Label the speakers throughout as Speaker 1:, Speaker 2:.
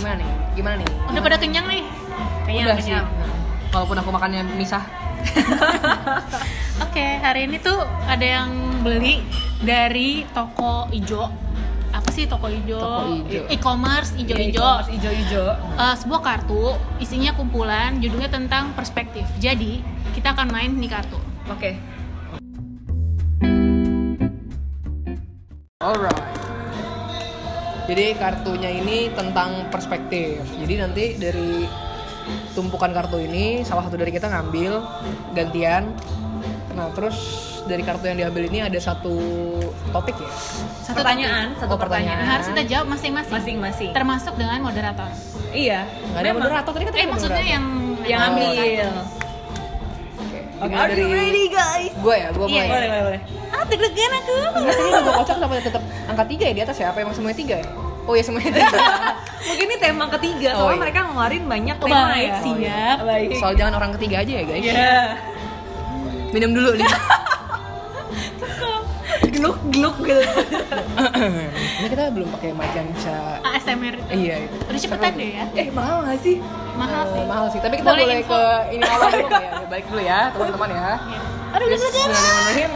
Speaker 1: gimana nih gimana nih
Speaker 2: Udah pada kenyang nih?
Speaker 1: Udah
Speaker 2: Iya,
Speaker 3: Kenyang,
Speaker 1: sih
Speaker 3: kenyang.
Speaker 1: walaupun aku makannya misah
Speaker 2: Oke, hari ini tuh ada yang beli dari toko ijo. Apa sih toko ijo?
Speaker 1: Toko ijo. Iya,
Speaker 2: E-commerce ijo-ijo.
Speaker 3: ijo-ijo.
Speaker 2: Eh, sebuah kartu isinya kumpulan judulnya tentang perspektif. Jadi, kita akan main nih kartu.
Speaker 3: Oke.
Speaker 1: alright jadi kartunya ini tentang perspektif jadi nanti dari tumpukan kartu ini salah satu dari kita ngambil gantian nah terus dari kartu yang diambil ini ada satu topik ya
Speaker 2: Satu
Speaker 3: pertanyaan,
Speaker 1: Oh, pertanyaan.
Speaker 2: Nah,
Speaker 3: satu pertanyaan.
Speaker 2: harus kita jawab masing-masing.
Speaker 3: Masing-masing.
Speaker 2: Termasuk dengan moderator.
Speaker 3: Iya.
Speaker 1: nggak ada
Speaker 3: memang.
Speaker 1: moderator tadi kan
Speaker 2: Eh, maksudnya yang kan?
Speaker 3: Yang
Speaker 1: Oh.
Speaker 3: ambil.
Speaker 1: Oke,
Speaker 3: Oke,
Speaker 1: dimulai
Speaker 3: Are you ready guys?
Speaker 1: gue ya gue mulai
Speaker 2: Iya,
Speaker 3: Boleh, boleh, boleh.
Speaker 2: Ah, deg-degan aku.
Speaker 1: Enggak, tadi udah gue kocok kenapa tetap angka 3 ya di atas ya? Apa emang semuanya 3 ya? Oh iya semuanya 3
Speaker 3: Mungkin ini tema ketiga,
Speaker 1: Oh,
Speaker 3: soalnya
Speaker 1: iya.
Speaker 3: mereka ngeluarin banyak
Speaker 2: Oh,
Speaker 3: tema
Speaker 2: baik,
Speaker 3: ya.
Speaker 2: siap.
Speaker 3: Baik.
Speaker 1: Soal jangan orang ketiga aja ya guys
Speaker 3: Iya.
Speaker 1: Minum dulu nih
Speaker 3: Geluk-geluk gitu.
Speaker 1: Ini kita belum pakai mic yang bisa
Speaker 2: ASMR.
Speaker 1: Iya itu
Speaker 2: Udah cepetan deh ya.
Speaker 1: Eh mahal gak sih?
Speaker 2: Mahal
Speaker 1: Eh,
Speaker 2: sih.
Speaker 1: mahal sih, tapi kita
Speaker 2: Boleh
Speaker 1: boleh,
Speaker 2: info.
Speaker 1: ke ini awal dulu ya Balik dulu ya teman-teman ya
Speaker 2: Aduh, eh,
Speaker 1: Bismillahirrahmanirrahim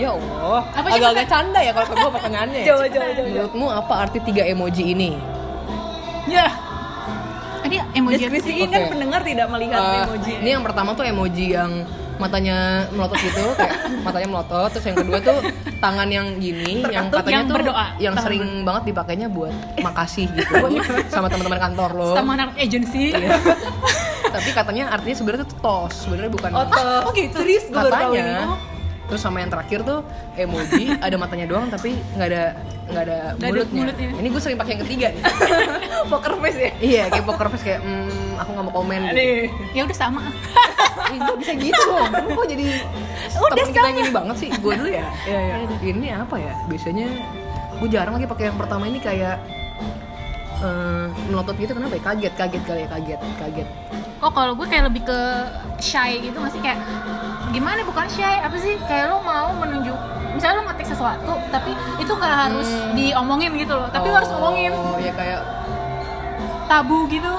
Speaker 1: Ya Allah,
Speaker 2: Apa sih
Speaker 1: agak-agak canda ya kalau ke gue pertanyaannya
Speaker 3: Jauh, jauh, jauh, jauh.
Speaker 1: Menurutmu apa arti tiga emoji ini?
Speaker 3: Ya.
Speaker 2: Tadi emoji apa sih?
Speaker 3: Deskripsiin kan
Speaker 1: Oke.
Speaker 3: pendengar tidak melihat
Speaker 1: Eh,
Speaker 3: emoji.
Speaker 1: Ini yang pertama tuh emoji yang matanya melotot gitu, kayak matanya melotot. Terus yang kedua tuh tangan yang gini, yang
Speaker 2: Terkatup,
Speaker 1: katanya
Speaker 2: yang
Speaker 1: tuh
Speaker 2: berdoa.
Speaker 1: yang
Speaker 2: Tangan
Speaker 1: sering banget dipakainya buat makasih gitu sama teman-teman kantor lo.
Speaker 2: Sama anak agency.
Speaker 1: Tapi katanya artinya sebenarnya tuh tos, sebenarnya bukan.
Speaker 3: Otot.
Speaker 2: oh gitu.
Speaker 3: Serius gue baru tahu ini.
Speaker 1: katanya. Terus sama yang terakhir tuh emoji ada matanya doang tapi nggak ada nggak ada
Speaker 2: Nggak ada
Speaker 1: mulutnya.
Speaker 2: mulutnya.
Speaker 1: Ini gue sering pakai yang ketiga nih.
Speaker 3: Oh, Poker face ya.
Speaker 1: iya, kayak poker face kayak "Hmm, aku nggak mau komen. gitu.
Speaker 3: Nih.
Speaker 2: Ya udah sama.
Speaker 1: Ih, kok bisa gitu dong? Lu Kok jadi temen kita yang ini banget sih? Gue dulu ya. Iya, iya. Ini apa ya? Biasanya gue jarang lagi pakai yang pertama ini kayak eh, melotot gitu kenapa ya? Kaget, kaget kali ya, kaget, kaget.
Speaker 2: Oh kalau gue kayak lebih ke shy gitu masih kayak gimana bukan shy apa sih kayak lo mau menunjuk misalnya lo ngetik sesuatu tapi itu nggak harus
Speaker 1: Hmm.
Speaker 2: diomongin gitu loh tapi lo harus ngomongin
Speaker 1: Oh, ya kayak
Speaker 2: tabu gitu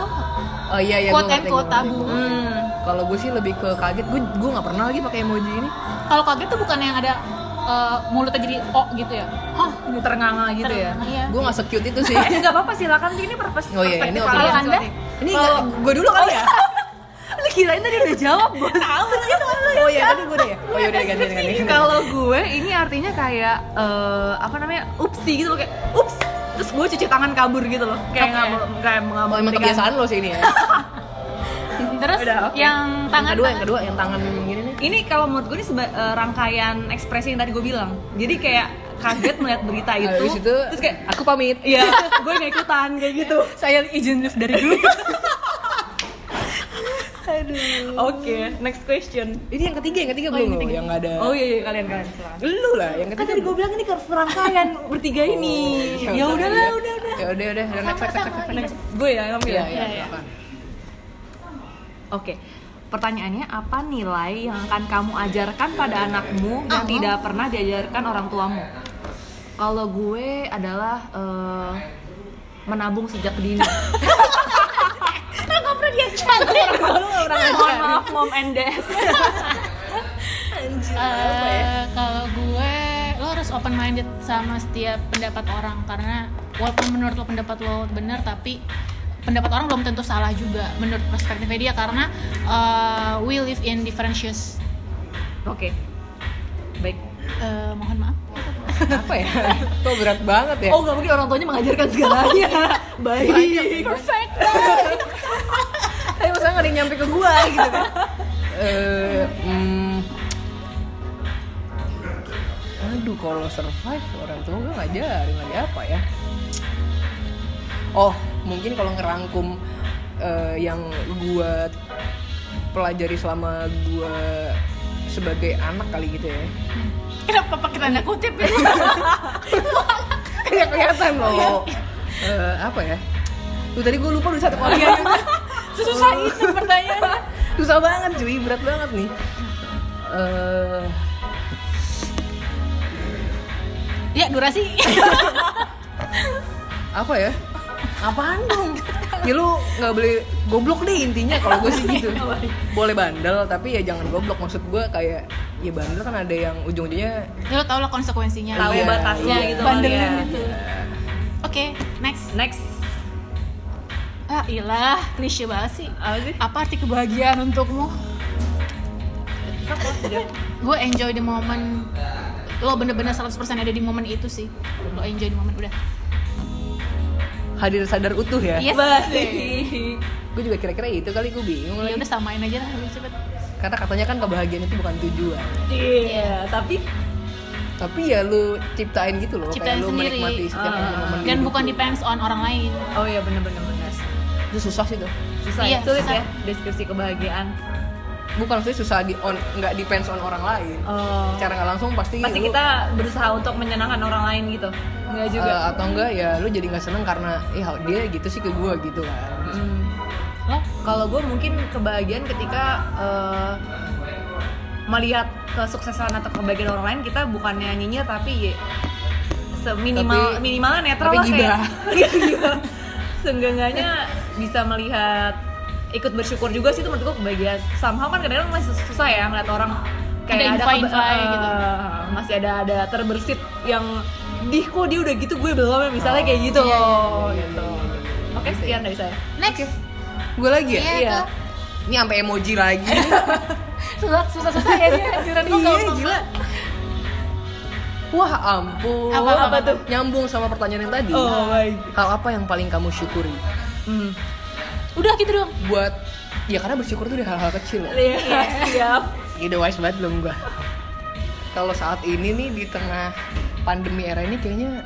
Speaker 1: Oh iya iya
Speaker 2: Quote
Speaker 1: gua
Speaker 2: and
Speaker 1: ngerti, gua
Speaker 2: quote,
Speaker 1: ngerti,
Speaker 2: tabu.
Speaker 1: gua ngerti.
Speaker 3: Hmm.
Speaker 1: Kalau gue sih lebih ke kaget, gue gue nggak pernah lagi pakai emoji ini.
Speaker 2: kalau kaget tuh bukan yang ada eh, mulutnya jadi oh gitu ya oh
Speaker 3: Ternganga gitu ya.
Speaker 2: iya
Speaker 1: Gue nggak secute itu sih.
Speaker 3: Eh, nggak apa-apa silakan ini perpes- perspektif
Speaker 1: Oh iya, ini opini.
Speaker 2: Kalau
Speaker 3: kalian
Speaker 2: Anda?
Speaker 3: sorry.
Speaker 1: ini gue dulu kali
Speaker 2: Oh,
Speaker 1: ya.
Speaker 3: Lu kirain tadi udah jawab, Bos.
Speaker 1: Oh iya, tadi gue deh. ya? Oh iya udah ganti ganti. ganti.
Speaker 3: Kalau gue ini artinya kayak eh, apa namanya? Upsi gitu loh kayak ups. Terus gue cuci tangan kabur gitu loh.
Speaker 2: Oke.
Speaker 3: Kayak nggak mau kayak nggak
Speaker 1: Oh,
Speaker 3: mau
Speaker 1: emang
Speaker 3: memberikan-
Speaker 1: kebiasaan lo sih ini ya.
Speaker 2: terus
Speaker 3: Udah, oke.
Speaker 2: yang
Speaker 1: Yang
Speaker 2: tangan
Speaker 1: kedua, yang kedua, yang tangan gini nih.
Speaker 3: Ini kalau menurut gue ini seba- eh, rangkaian ekspresi yang tadi gue bilang. Jadi kayak kaget melihat berita itu,
Speaker 1: Nah, Habis itu,
Speaker 3: terus kayak
Speaker 1: aku pamit.
Speaker 3: Iya, gue nggak ikutan kayak gitu.
Speaker 2: saya izin lift dari dulu
Speaker 3: Oke, next question.
Speaker 1: Ini yang ketiga, yang ketiga
Speaker 2: Oh,
Speaker 1: belum
Speaker 2: yang
Speaker 1: loh,
Speaker 2: ketiga.
Speaker 1: yang nggak ada.
Speaker 3: Oh iya, iya kalian kalian silakan.
Speaker 1: Lu lah, yang
Speaker 3: Kan
Speaker 1: ketiga.
Speaker 3: tadi gue bilang ini ke- rangkaian bertiga ini.
Speaker 1: Oh,
Speaker 3: ya
Speaker 1: iya,
Speaker 3: udahlah,
Speaker 1: iya.
Speaker 3: udah udah.
Speaker 1: Ya udah udah, udah next next next next. next.
Speaker 3: Gue ya yang ambil.
Speaker 1: Iya,
Speaker 3: ya?
Speaker 1: iya,
Speaker 2: iya.
Speaker 1: silakan.
Speaker 3: Oke. Pertanyaannya apa nilai yang akan kamu ajarkan pada anakmu yang tidak pernah diajarkan orang tuamu? Kalau gue adalah eh, menabung sejak dini.
Speaker 2: nggak pernah diajarin
Speaker 3: Mohon maaf mom and dad.
Speaker 2: Eh, kalau gue lo harus open minded sama setiap pendapat orang karena walaupun menurut lo pendapat lo benar tapi pendapat orang belum tentu salah juga menurut perspektifnya dia karena eh, we live in different shoes
Speaker 3: Oke. Baik.
Speaker 2: Eh, mohon maaf
Speaker 1: Apa ya? Kok berat banget ya?
Speaker 3: Oh nggak mungkin orang tuanya mengajarkan segalanya. Baik.
Speaker 2: perfect
Speaker 1: tapi maksudnya nggak ada yang nyampe ke gua gitu kan. Eh, hmm. Aduh, kalau survive orang tua gue ngajarin ada apa ya? Oh, mungkin kalau ngerangkum eh, yang gua pelajari selama gua sebagai anak kali gitu ya.
Speaker 2: kenapa pakai tanda kutip ya? itu
Speaker 1: Kayak kelihatan loh. Eh, apa ya? Tuh tadi gue lupa udah satu kali
Speaker 2: susah itu pertanyaannya
Speaker 1: susah banget cuy berat banget nih eh
Speaker 2: ya durasi
Speaker 1: apa ya
Speaker 3: Apaan dong?
Speaker 1: ya lu nggak boleh goblok deh intinya kalau gue sih gitu
Speaker 3: Iya,
Speaker 1: boleh bandel tapi ya jangan goblok maksud gue kayak ya bandel kan ada yang ujung-ujungnya
Speaker 2: Ya, lo tau lah konsekuensinya.
Speaker 3: Tahu
Speaker 1: Iya,
Speaker 3: batasnya
Speaker 1: iya.
Speaker 3: gitu kali ya.
Speaker 2: Bandelin itu. Oke, next.
Speaker 3: Next.
Speaker 2: Ah, ilah, klise banget sih.
Speaker 3: Apa sih?
Speaker 2: Apa arti kebahagiaan untukmu? Gue enjoy the moment. Lo bener-bener 100% ada di momen itu sih. Lo enjoy the moment udah.
Speaker 1: hadir sadar utuh ya
Speaker 3: Iya.
Speaker 2: Yes.
Speaker 3: Baik.
Speaker 1: gue juga kira-kira itu kali gue bingung
Speaker 3: Iya,
Speaker 2: Ya
Speaker 1: lagi
Speaker 2: udah samain aja lah lebih cepet.
Speaker 1: karena katanya kan kebahagiaan itu bukan tujuan
Speaker 3: Iya, tapi
Speaker 1: tapi ya lu ciptain gitu loh
Speaker 2: Ciptain
Speaker 1: kayak lu
Speaker 2: sendiri.
Speaker 1: menikmati setiap gitu.
Speaker 3: Ah.
Speaker 1: momen
Speaker 2: Dan bukan depends on orang lain.
Speaker 3: oh iya bener-bener bener.
Speaker 1: itu susah sih tuh
Speaker 3: Susah
Speaker 2: Iya,
Speaker 3: ya, sulit
Speaker 2: susah.
Speaker 3: ya deskripsi kebahagiaan.
Speaker 1: bukan maksudnya susah di on nggak depends on orang lain
Speaker 3: Oh.
Speaker 1: cara nggak langsung pasti
Speaker 3: Pasti
Speaker 1: lu,
Speaker 3: kita berusaha untuk menyenangkan orang lain gitu. Enggak
Speaker 1: eh,
Speaker 3: juga.
Speaker 1: atau enggak ya lu jadi nggak seneng karena ya dia gitu sih ke gue gitu kan
Speaker 3: Hmm.
Speaker 2: Lo?
Speaker 3: Kalau gue mungkin kebahagiaan ketika eh, melihat kesuksesan atau kebahagiaan orang lain kita bukannya nyinyir tapi ya, seminimal
Speaker 1: Tapi-
Speaker 3: minimalnya
Speaker 1: tapi
Speaker 3: netral lah kayak.
Speaker 1: gibah.
Speaker 3: Iya, gibah. Seenggak-enggaknya bisa melihat ikut bersyukur juga sih itu menurut gue kebahagiaan. Somehow kan kadang-kadang masih susah ya ngeliat orang kayak
Speaker 2: Ada
Speaker 3: ada,
Speaker 2: info-info
Speaker 3: keba-
Speaker 2: gitu.
Speaker 3: eh, masih ada ada terbersit yang dih kok dia udah gitu gue belum ya misalnya kayak gitu
Speaker 2: Iya, iya,
Speaker 3: loh gitu. Oke, sekian dari saya.
Speaker 2: Next.
Speaker 1: gue lagi ya
Speaker 2: Iya,
Speaker 3: Iya.
Speaker 2: tuh.
Speaker 1: ini sampai emoji lagi
Speaker 2: Susah susah susah ya dia anjuran gua
Speaker 1: iya
Speaker 2: nggak apa-apa.
Speaker 1: gila wah ampun
Speaker 2: Apa, apa, apa tuh?
Speaker 1: nyambung sama pertanyaan yang tadi
Speaker 3: Oh my
Speaker 1: hal apa yang paling kamu syukuri
Speaker 3: Hmm.
Speaker 2: Udah gitu dong.
Speaker 1: buat ya karena bersyukur tuh dari hal-hal kecil ya
Speaker 3: Iya, siap.
Speaker 1: Gitu wise banget belum gua. Kalau saat ini nih di tengah pandemi era ini kayaknya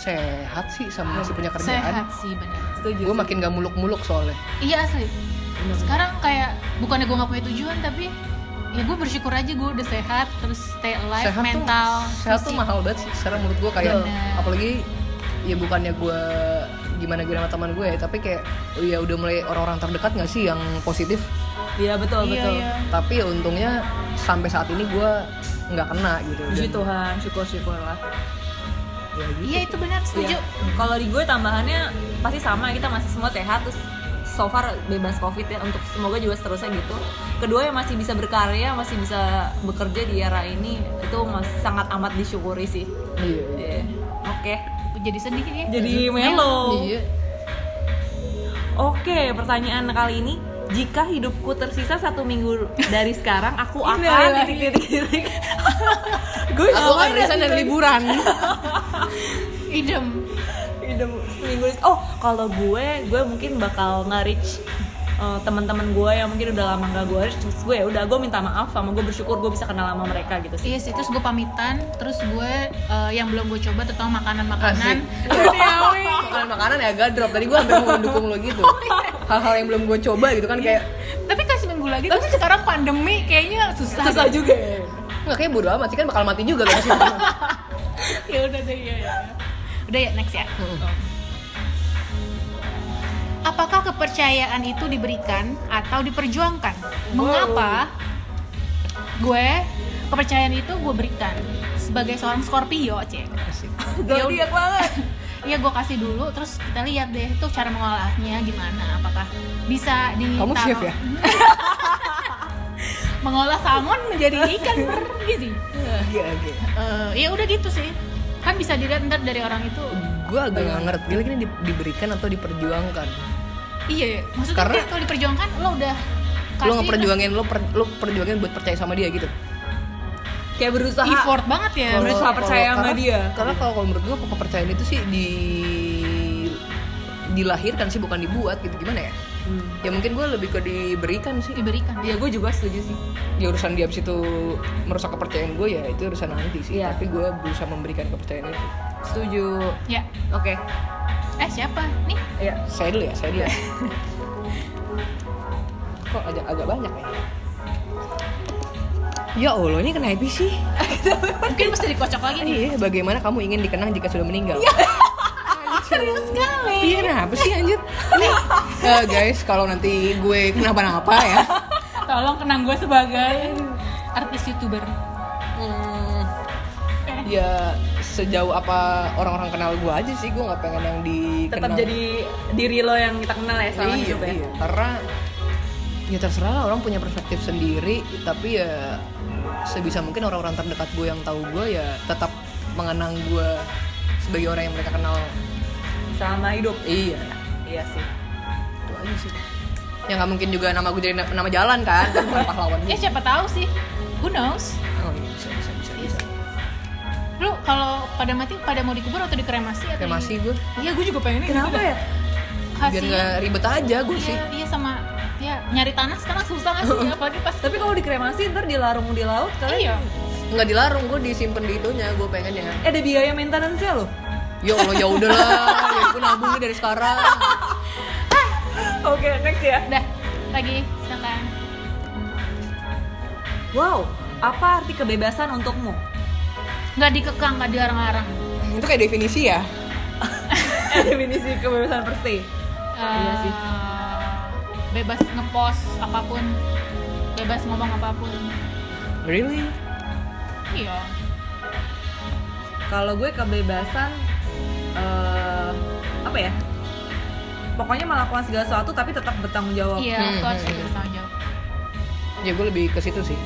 Speaker 1: sehat sih sama masih punya
Speaker 2: Sehat
Speaker 1: kerjaan.
Speaker 2: sih bener.
Speaker 3: Setuju.
Speaker 1: Gue makin gak muluk-muluk soalnya.
Speaker 2: Iya asli. Sekarang kayak bukannya gue nggak punya tujuan tapi ya gue bersyukur aja gue udah sehat terus stay alive
Speaker 1: sehat
Speaker 2: mental
Speaker 1: tuh sehat tuh
Speaker 2: fisik.
Speaker 1: mahal banget sih. Sekarang menurut gue kayak
Speaker 2: Bener.
Speaker 1: apalagi ya bukannya gue gimana gimana sama teman gue ya, tapi kayak ya udah mulai orang-orang terdekat nggak sih yang positif.
Speaker 3: Iya,
Speaker 2: Iya,
Speaker 3: betul, betul.
Speaker 2: iya.
Speaker 1: Tapi ya untungnya sampai saat ini gue nggak kena gitu. Dan,
Speaker 3: Puji Tuhan, syukur-syukur lah.
Speaker 1: ya gitu.
Speaker 2: Iya itu benar setuju.
Speaker 3: Iya. Kalau di gue tambahannya pasti sama, kita masih semua sehat terus so far bebas covid ya untuk semoga juga seterusnya gitu. Kedua yang masih bisa berkarya, masih bisa bekerja di era ini itu mas- sangat amat disyukuri sih.
Speaker 1: Iya, iya.
Speaker 3: Iya. Oke.
Speaker 2: Jadi sedih ya.
Speaker 3: Jadi melo.
Speaker 1: Iya.
Speaker 3: Oke, pertanyaan kali ini jika hidupku tersisa satu minggu dari sekarang, aku
Speaker 2: Innalillahi.
Speaker 3: akan titik-titik-titik. Gue
Speaker 1: Aku akan resign dan liburan.
Speaker 2: Idem.
Speaker 3: Idem seminggu ini- Oh, kalau gue, gue mungkin bakal nge-reach uh, teman-teman gue yang mungkin udah lama gak gue reach terus gue ya udah gue minta maaf sama gue bersyukur gue bisa kenal sama mereka gitu sih
Speaker 2: Iya sih, terus gue pamitan, terus gue eh, yang belum gue coba tentang
Speaker 1: Asik.
Speaker 2: makanan-makanan ya duniawi.
Speaker 1: makanan makanan ya agak drop tadi gue hampir mau mendukung lo gitu hal-hal yang belum gue coba gitu kan kayak
Speaker 2: Tapi kan seminggu lagi, tapi sekarang pandemi kayaknya susah.
Speaker 3: juga ya?
Speaker 1: nggak kayak bodo amat sih kan bakal mati juga kan
Speaker 2: ya udah deh ya, ya. Udah ya next ya. Apakah kepercayaan itu diberikan atau diperjuangkan? Mengapa gue kepercayaan itu gue berikan sebagai seorang Scorpio, Cek. Ya
Speaker 3: zodiak banget
Speaker 2: Iya gue kasih dulu, terus kita lihat deh tuh cara mengolahnya gimana, apakah bisa di
Speaker 1: Kamu chef ya?
Speaker 2: Mengolah salmon menjadi ikan bergizi.
Speaker 1: iya oke
Speaker 2: Eh, ya udah gitu sih. Kan bisa dilihat ntar dari orang itu.
Speaker 1: gue agak nggak ngerti lagi ini di- diberikan atau diperjuangkan
Speaker 2: Iya, maksudnya
Speaker 1: Karena-
Speaker 2: kayak kalau diperjuangkan lo udah
Speaker 1: lo
Speaker 2: kasih
Speaker 1: ngeperjuangin lo per, lo perjuangin buat percaya sama dia gitu
Speaker 3: kayak berusaha
Speaker 2: effort banget ya.
Speaker 3: Kalau- Berusaha Iya, percaya sama
Speaker 1: karena-
Speaker 3: dia.
Speaker 1: karena kalau kalau menurut gue kepercayaan itu sih di dilahirkan sih bukan dibuat gitu gimana ya
Speaker 3: Hmm.
Speaker 1: ya mungkin gue lebih ke diberikan sih
Speaker 2: diberikan.
Speaker 3: ya gue juga setuju sih
Speaker 1: di urusan dia abis itu merusak kepercayaan gue ya itu urusan nanti sih
Speaker 3: Iya.
Speaker 1: tapi gue berusaha memberikan kepercayaan itu
Speaker 3: setuju
Speaker 2: Ya.
Speaker 3: oke
Speaker 2: Eh siapa? Nih.
Speaker 3: ya
Speaker 1: saya dulu ya saya dulu ya. kok agak agak banyak ya ya allah ini kenapa sih
Speaker 2: Mungkin mesti dikocok lagi nih.
Speaker 1: iya bagaimana kamu ingin dikenang jika sudah meninggal
Speaker 3: Iya.
Speaker 2: Serius sekali.
Speaker 1: iya kenapa sih anjir nih eh, guys kalau nanti gue kenapa-napa ya
Speaker 2: Tolong kenang gue sebagai artis youtuber.
Speaker 1: Hmm, ya se sejauh apa orang-orang kenal gue aja sih gue nggak pengen yang dikenal
Speaker 3: tetap jadi diri lo yang kita kenal ya selama
Speaker 1: iya,
Speaker 3: hidup ya
Speaker 1: iya. karena ya terserah lah orang punya perspektif sendiri tapi ya sebisa mungkin orang-orang terdekat gue yang tahu gue ya tetap mengenang gue sebagai orang yang mereka kenal
Speaker 3: selama hidup
Speaker 1: iya
Speaker 3: iya sih
Speaker 1: itu aja sih ya nggak mungkin juga nama gue jadi na- nama jalan kan Kan bukan pahlawan
Speaker 2: ya
Speaker 1: juga.
Speaker 2: siapa tahu sih who knows
Speaker 1: oh iya bisa bisa bisa, bisa.
Speaker 2: lu kalau pada mati pada mau dikubur atau dikremasi atau
Speaker 1: kremasi Ya, gue
Speaker 2: iya gue juga pengen
Speaker 3: kenapa ya
Speaker 1: biar nggak ribet aja gue sih
Speaker 2: Iya, iya sama ya nyari tanah sekarang susah nggak sih apalagi pas
Speaker 3: tapi kalau dikremasi ntar dilarung di laut kalian
Speaker 2: iya
Speaker 1: nggak dilarung gue disimpan di itunya gue pengen ya
Speaker 3: Eh, ada biaya maintenance nya loh
Speaker 1: ya allah ya udahlah ya gue nabungnya dari sekarang
Speaker 3: oke next ya
Speaker 2: dah lagi silakan
Speaker 3: wow apa arti kebebasan untukmu
Speaker 2: nggak dikekang nggak dilarang-larang
Speaker 1: itu kayak definisi ya
Speaker 3: Eh, definisi kebebasan per se Iya sih.
Speaker 2: Eh, bebas ngepost apapun bebas ngomong apapun
Speaker 1: really
Speaker 2: iya
Speaker 3: kalau gue kebebasan eh, apa ya pokoknya melakukan segala sesuatu tapi tetap bertanggung jawab
Speaker 2: iya
Speaker 1: Hmm,
Speaker 2: aku harus
Speaker 1: hmm, hmm.
Speaker 2: bertanggung jawab
Speaker 1: ya gue lebih ke situ sih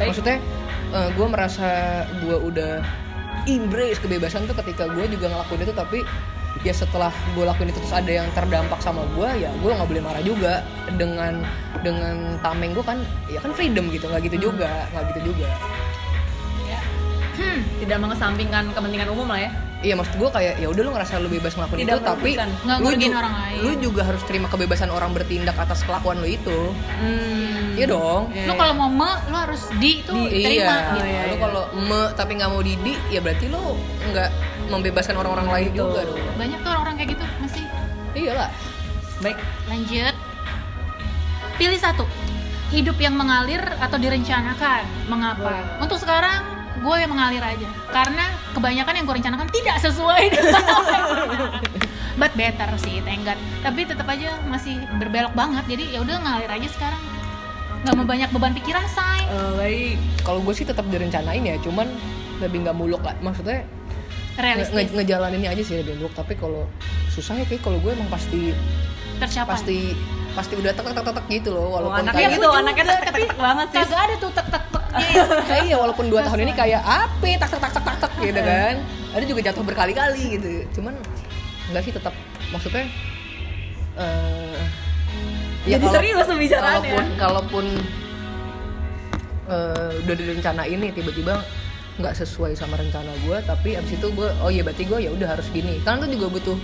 Speaker 3: Baik.
Speaker 1: maksudnya gue merasa gue udah embrace kebebasan tuh ketika gue juga ngelakuin itu tapi ya setelah gue lakuin itu terus ada yang terdampak sama gue ya gue nggak boleh marah juga dengan dengan tameng gue kan ya kan freedom gitu nggak
Speaker 2: Hmm.
Speaker 1: gitu juga nggak gitu juga
Speaker 2: ya
Speaker 3: tidak mengesampingkan kepentingan umum lah ya
Speaker 1: iya maksud gue kayak ya udah lu ngerasa lu bebas ngelakuin
Speaker 3: Tidak
Speaker 1: itu tapi
Speaker 3: merugikan.
Speaker 2: Nggak
Speaker 1: lu,
Speaker 2: ngerugiin
Speaker 1: ju-
Speaker 2: orang lain.
Speaker 1: lu juga harus terima kebebasan orang bertindak atas kelakuan lu itu
Speaker 3: hmm.
Speaker 1: iya dong
Speaker 3: Iya,
Speaker 2: lu
Speaker 3: iya.
Speaker 2: kalau mau me lu harus di itu
Speaker 1: Di-
Speaker 2: terima
Speaker 1: iya,
Speaker 2: gitu
Speaker 3: iya,
Speaker 1: lu
Speaker 3: iya.
Speaker 1: kalau me tapi nggak mau didi ya berarti lu nggak membebaskan orang-orang lain
Speaker 3: Betul.
Speaker 1: juga dong
Speaker 2: banyak tuh orang-orang kayak gitu masih
Speaker 1: iyalah
Speaker 3: baik
Speaker 2: lanjut pilih satu hidup yang mengalir atau direncanakan mengapa untuk sekarang gue yang mengalir aja karena kebanyakan yang gue rencanakan tidak sesuai dengan apa yang gue rencanakan. but better sih thank God tapi tetap aja masih berbelok banget jadi ya udah ngalir aja sekarang nggak mau banyak beban pikiran say
Speaker 3: Eh, baik
Speaker 1: kalau gue sih tetap direncanain ya cuman lebih nggak muluk lah maksudnya nge- nge-
Speaker 2: realistis
Speaker 1: ngejalaninnya aja sih lebih muluk tapi kalau susah ya kayak kalau gue emang pasti
Speaker 2: tercapai
Speaker 1: pasti pasti udah tek tek tek, tek gitu loh walaupun
Speaker 3: anaknya
Speaker 1: kayak
Speaker 3: gitu, anaknya tetek-tetek banget sih.
Speaker 2: kagak ada tuh tek tek tek
Speaker 1: kayak iya walaupun dua tahun ini
Speaker 2: Sesuai.
Speaker 1: kayak apa tak tak tak tak tak tak gitu kan ada juga jatuh berkali-kali gitu cuman enggak sih tetap maksudnya eh ya
Speaker 3: Jadi serius pembicaraannya.
Speaker 1: kalaupun kalaupun eh, udah direncana ini tiba-tiba nggak sesuai sama rencana gue tapi abis itu gue oh iya berarti gue ya udah harus gini karena lu juga butuh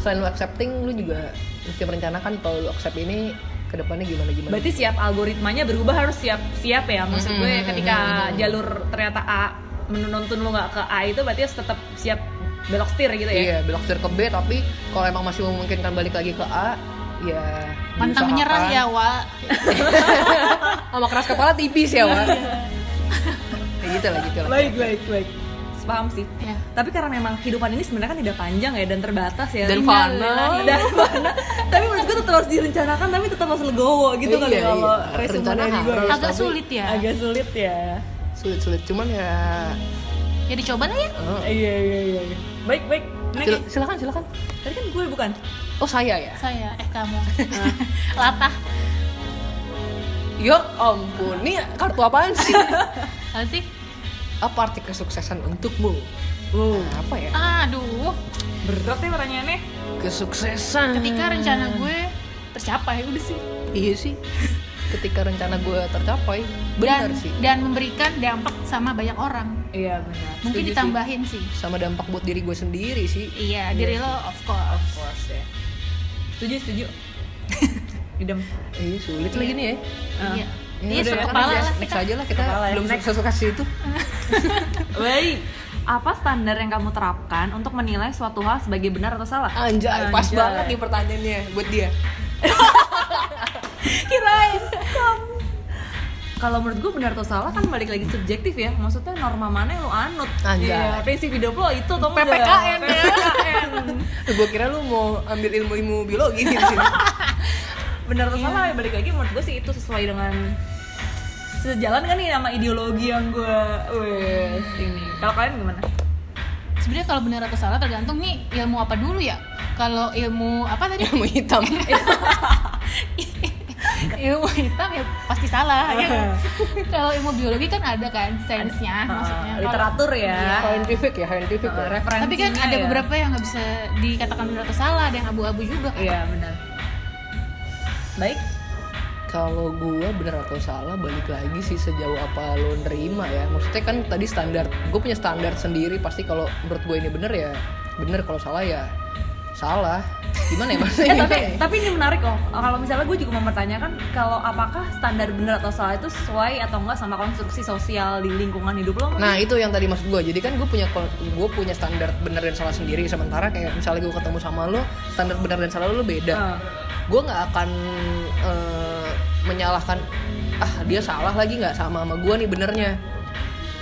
Speaker 1: selain lu accepting lu juga mesti merencanakan kalau lu accept ini kedepannya gimana gimana
Speaker 3: Berarti siap algoritmanya berubah harus siap siap ya maksud gue
Speaker 1: Mm-mm.
Speaker 3: ketika jalur ternyata A menuntun lo nggak ke A itu berarti harus tetap siap belok setir gitu ya.
Speaker 1: Iya, belok setir ke B tapi kalau emang masih memungkinkan balik lagi ke A, ya
Speaker 2: pantang menyerah ya
Speaker 1: diusahakan.
Speaker 2: wa
Speaker 1: Sama keras kepala tipis ya, Wak. ya gitu lah, gitu lah.
Speaker 3: Baik baik baik. Paham sih.
Speaker 2: ya
Speaker 3: Tapi karena memang kehidupan ini sebenarnya kan tidak panjang ya dan terbatas ya.
Speaker 1: Dan
Speaker 3: Iya,
Speaker 1: fana.
Speaker 3: Dan fana. tapi menurut gue tetap harus direncanakan tapi tetap harus legowo gitu
Speaker 1: Iya,
Speaker 3: kali
Speaker 1: iya.
Speaker 3: kalau
Speaker 1: Rencana
Speaker 3: resumen dari gue.
Speaker 1: harus.
Speaker 2: agak sulit ya
Speaker 3: Agak sulit ya.
Speaker 1: Sulit-sulit, cuman ya
Speaker 2: jadi coba lah ya
Speaker 1: eh,
Speaker 3: Iya iya iya. iya. Baik baik. Next.
Speaker 1: sil- silakan, silakan.
Speaker 3: Tadi kan gue bukan.
Speaker 1: Oh, saya ya.
Speaker 2: saya eh kamu latah
Speaker 1: Ya ampun, ini kartu apaan sih?
Speaker 2: apa sih
Speaker 1: Apa arti kesuksesan untukmu?
Speaker 3: Wow.
Speaker 1: Apa ya?
Speaker 2: aduh
Speaker 3: Berat ya pertanyaannya.
Speaker 1: Kesuksesan.
Speaker 2: ketika rencana gue tercapai udah sih
Speaker 1: Iya sih. Ketika rencana gue tercapai,
Speaker 2: dan
Speaker 1: benar sih.
Speaker 2: dan memberikan dampak sama banyak orang
Speaker 3: Iya benar.
Speaker 2: mungkin
Speaker 1: Setuju sih.
Speaker 2: ditambahin sih
Speaker 1: Sama dampak buat diri gue sendiri sih.
Speaker 2: iya diri lo of course
Speaker 3: course ya. Setuju, setuju. Idem.
Speaker 1: Eh, sulit lagi nih ya.
Speaker 3: Ah.
Speaker 2: iya
Speaker 1: Ya,
Speaker 2: iya
Speaker 1: udah,
Speaker 2: suruh
Speaker 1: ya,
Speaker 2: kepala
Speaker 1: next,
Speaker 2: lah
Speaker 1: next
Speaker 2: kita
Speaker 1: aja lah kita
Speaker 3: Kepala ya,
Speaker 1: belum
Speaker 3: next.
Speaker 1: sukses sukses itu
Speaker 3: Baik. Apa standar yang kamu terapkan untuk menilai suatu hal sebagai benar atau salah?
Speaker 1: anjay, pas
Speaker 3: Anjay.
Speaker 1: banget nih pertanyaannya buat dia
Speaker 3: Kirain. kamu. Kalau menurut gue benar atau salah kan balik lagi subjektif ya. Maksudnya norma mana yang lo anut?
Speaker 1: Anjay.
Speaker 3: Iya, prinsip hidup lo itu atau enggak?
Speaker 2: PPKN ya.
Speaker 1: gue kira lu mau ambil ilmu ilmu biologi di sini
Speaker 3: benar
Speaker 2: Iya.
Speaker 3: atau salah ya balik lagi menurut gue sih itu sesuai dengan sejalan kan nih sama ideologi yang gue wes ini. Kalau kalian gimana?
Speaker 2: sebenarnya kalau benar atau salah tergantung nih ilmu apa dulu ya kalau ilmu apa tadi
Speaker 1: ilmu hitam
Speaker 2: ilmu hitam ya pasti salah ya
Speaker 1: Ah.
Speaker 2: kan? kalau ilmu biologi kan ada kan sainsnya maksudnya Iya,
Speaker 3: Eh,
Speaker 2: Kalau-
Speaker 3: literatur ya.
Speaker 1: scientific ya scientific
Speaker 3: Eh,
Speaker 1: ya.
Speaker 3: Referensinya.
Speaker 2: tapi kan ada
Speaker 3: ya.
Speaker 2: beberapa yang nggak bisa dikatakan benar atau salah ada yang abu-abu juga
Speaker 3: Iya, benar. Baik.
Speaker 1: Kalau gue bener atau salah balik lagi sih sejauh apa lo nerima ya. Maksudnya kan tadi standar, gue punya standar sendiri pasti kalau menurut gue ini bener ya bener kalau salah ya salah. Gimana ya maksudnya?
Speaker 3: Eh, tapi
Speaker 1: gimana ya?
Speaker 3: tapi ini menarik loh. Kalau misalnya gue juga mempertanyakan kalau apakah standar benar atau salah itu sesuai atau enggak sama konstruksi sosial di lingkungan hidup lo?
Speaker 1: Nah itu yang tadi maksud gue. Jadi kan gue punya gue punya standar bener dan salah sendiri. Sementara kayak misalnya gue ketemu sama lo, standar bener dan salah lo beda.
Speaker 3: Eh,
Speaker 1: gue nggak akan eh, menyalahkan ah dia salah lagi nggak sama sama gue nih benernya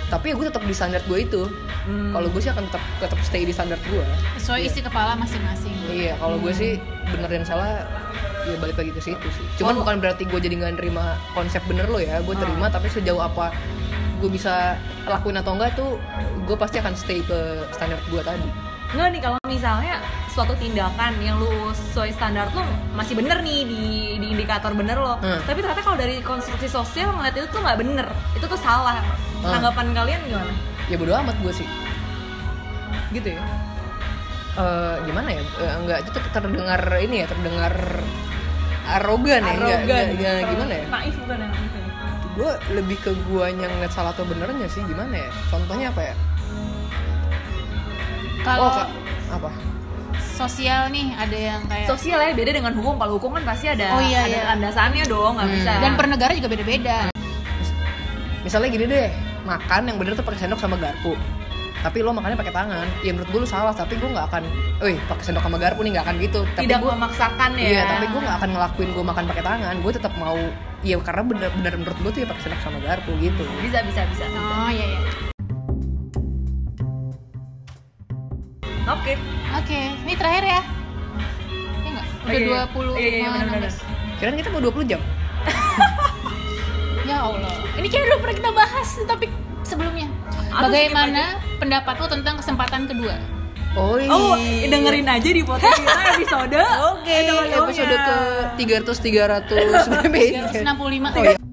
Speaker 1: tapi ya gue tetap di standar gue itu
Speaker 3: Hmm.
Speaker 1: kalau gue sih akan tetap tetap stay di standar gue
Speaker 2: sesuai isi kepala masing-masing
Speaker 1: iya kalau gue sih bener dan salah ya balik lagi ke situ sih cuman bukan berarti gue jadi nggak nerima konsep bener lo ya gue terima tapi sejauh apa gue bisa lakuin atau enggak tuh gue pasti akan stay ke standar gue tadi
Speaker 3: Enggak nih kalau misalnya suatu tindakan yang lu sesuai standar lu masih bener nih di, di indikator bener lo.
Speaker 1: Hmm.
Speaker 3: Tapi ternyata kalau dari konstruksi sosial ngeliat itu tuh nggak bener, itu tuh salah.
Speaker 1: Hmm.
Speaker 3: Tanggapan kalian gimana?
Speaker 1: ya bodo amat gue sih gitu ya Eh, gimana ya Eh, enggak itu ter- terdengar ini ya terdengar arogan ya enggak, enggak, enggak,
Speaker 3: Terlalu
Speaker 1: gimana ya
Speaker 3: Naif bukan yang
Speaker 1: gue lebih ke guanya ngeliat salah atau benernya sih gimana ya contohnya apa ya
Speaker 2: kalau
Speaker 1: oh Kak, apa
Speaker 2: sosial nih ada yang kayak
Speaker 3: Sosial ya beda dengan hukum. Kalau hukum kan pasti ada
Speaker 2: Oh, iya,
Speaker 3: ada
Speaker 2: iya.
Speaker 3: landasannya dong, nggak
Speaker 1: Hmm.
Speaker 3: bisa.
Speaker 2: dan per negara juga beda-beda
Speaker 1: misalnya gini deh makan yang bener tuh pakai sendok sama garpu tapi lo makannya pakai tangan ya menurut gue lo salah tapi gue nggak akan eh pakai sendok sama garpu nih nggak akan gitu tapi
Speaker 3: tidak
Speaker 1: gua-
Speaker 3: memaksakan ya.
Speaker 1: Iya, tapi gue gak akan ngelakuin gue makan pakai tangan. Gue tetap mau, ya karena bener-bener menurut gue tuh ya pakai sendok sama garpu gitu.
Speaker 3: Bisa bisa bisa.
Speaker 2: oh iya iya
Speaker 3: Oke.
Speaker 2: oke ini terakhir ya Iya nggak?
Speaker 3: Oh, iya, iya.
Speaker 2: udah 20
Speaker 3: Iya, iya, benar, benar.
Speaker 2: 16.
Speaker 1: Kirain kita mau 20 jam.
Speaker 2: Ya Allah, ini kayak udah pernah kita bahas tapi sebelumnya.
Speaker 3: Atau
Speaker 2: Bagaimana pendapatmu tentang kesempatan kedua?
Speaker 1: Oi.
Speaker 3: Oh, dengerin aja di podcast kita episode. Oke.
Speaker 1: episode ke 300 300 berapa ya?
Speaker 2: 365.
Speaker 1: Oh, iya.